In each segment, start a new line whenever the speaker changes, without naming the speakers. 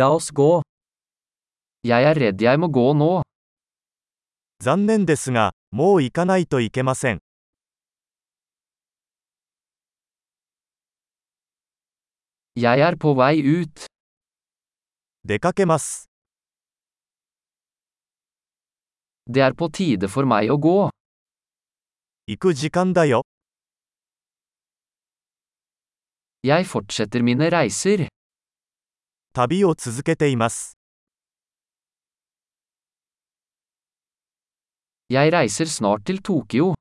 La oss gå. Jeg er redd jeg må gå nå.
残念ですが、もう行かないといけません。
Jeg er på vei ut.
出かけます。
Det er på tide for meg å gå.
行く時間だよ。
Jeg fortsetter mine reiser.
旅を続けています。
Jeg reiser snart til Tokyo.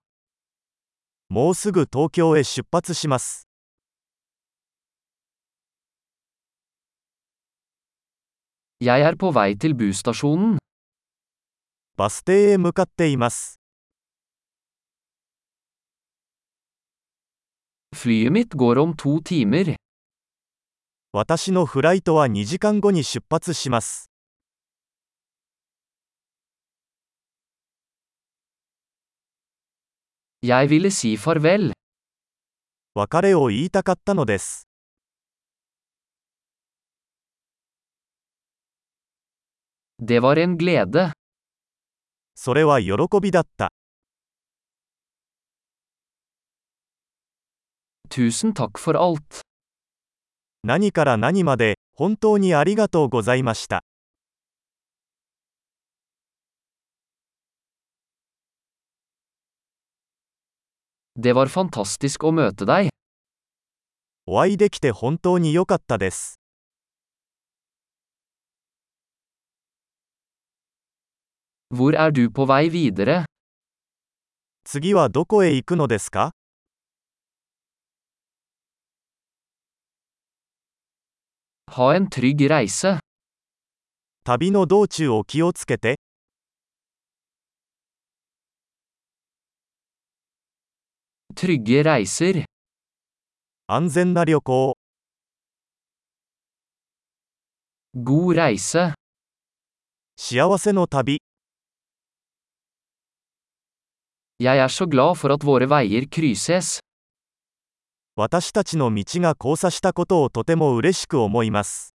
もうすぐ東京へ出発します。
Jeg er på vei til busstasjonen.
バス停へ向かっています。
Flyet mitt går om to timer.
私のフライトは2時間後に出発します。
Jeg ville si farvel.
別れを言いたかったのです。
Det var en glede.
それは喜びだった。
Tusen takk for alt.
何から何まで、本当にありがとうございました。
Det var fantastisk å møte deg.
お会いできて本当に良かったです。
Hvor er du på vei videre?
次はどこへ行くのですか
Ha en trygg reise.
旅の道中を気をつけて、
Trygge reiser.
安全な旅行を。
God reise.
幸せの旅。
Jeg er så glad for at våre veier krysses.
私たちの道が交差したことをとても嬉しく思います。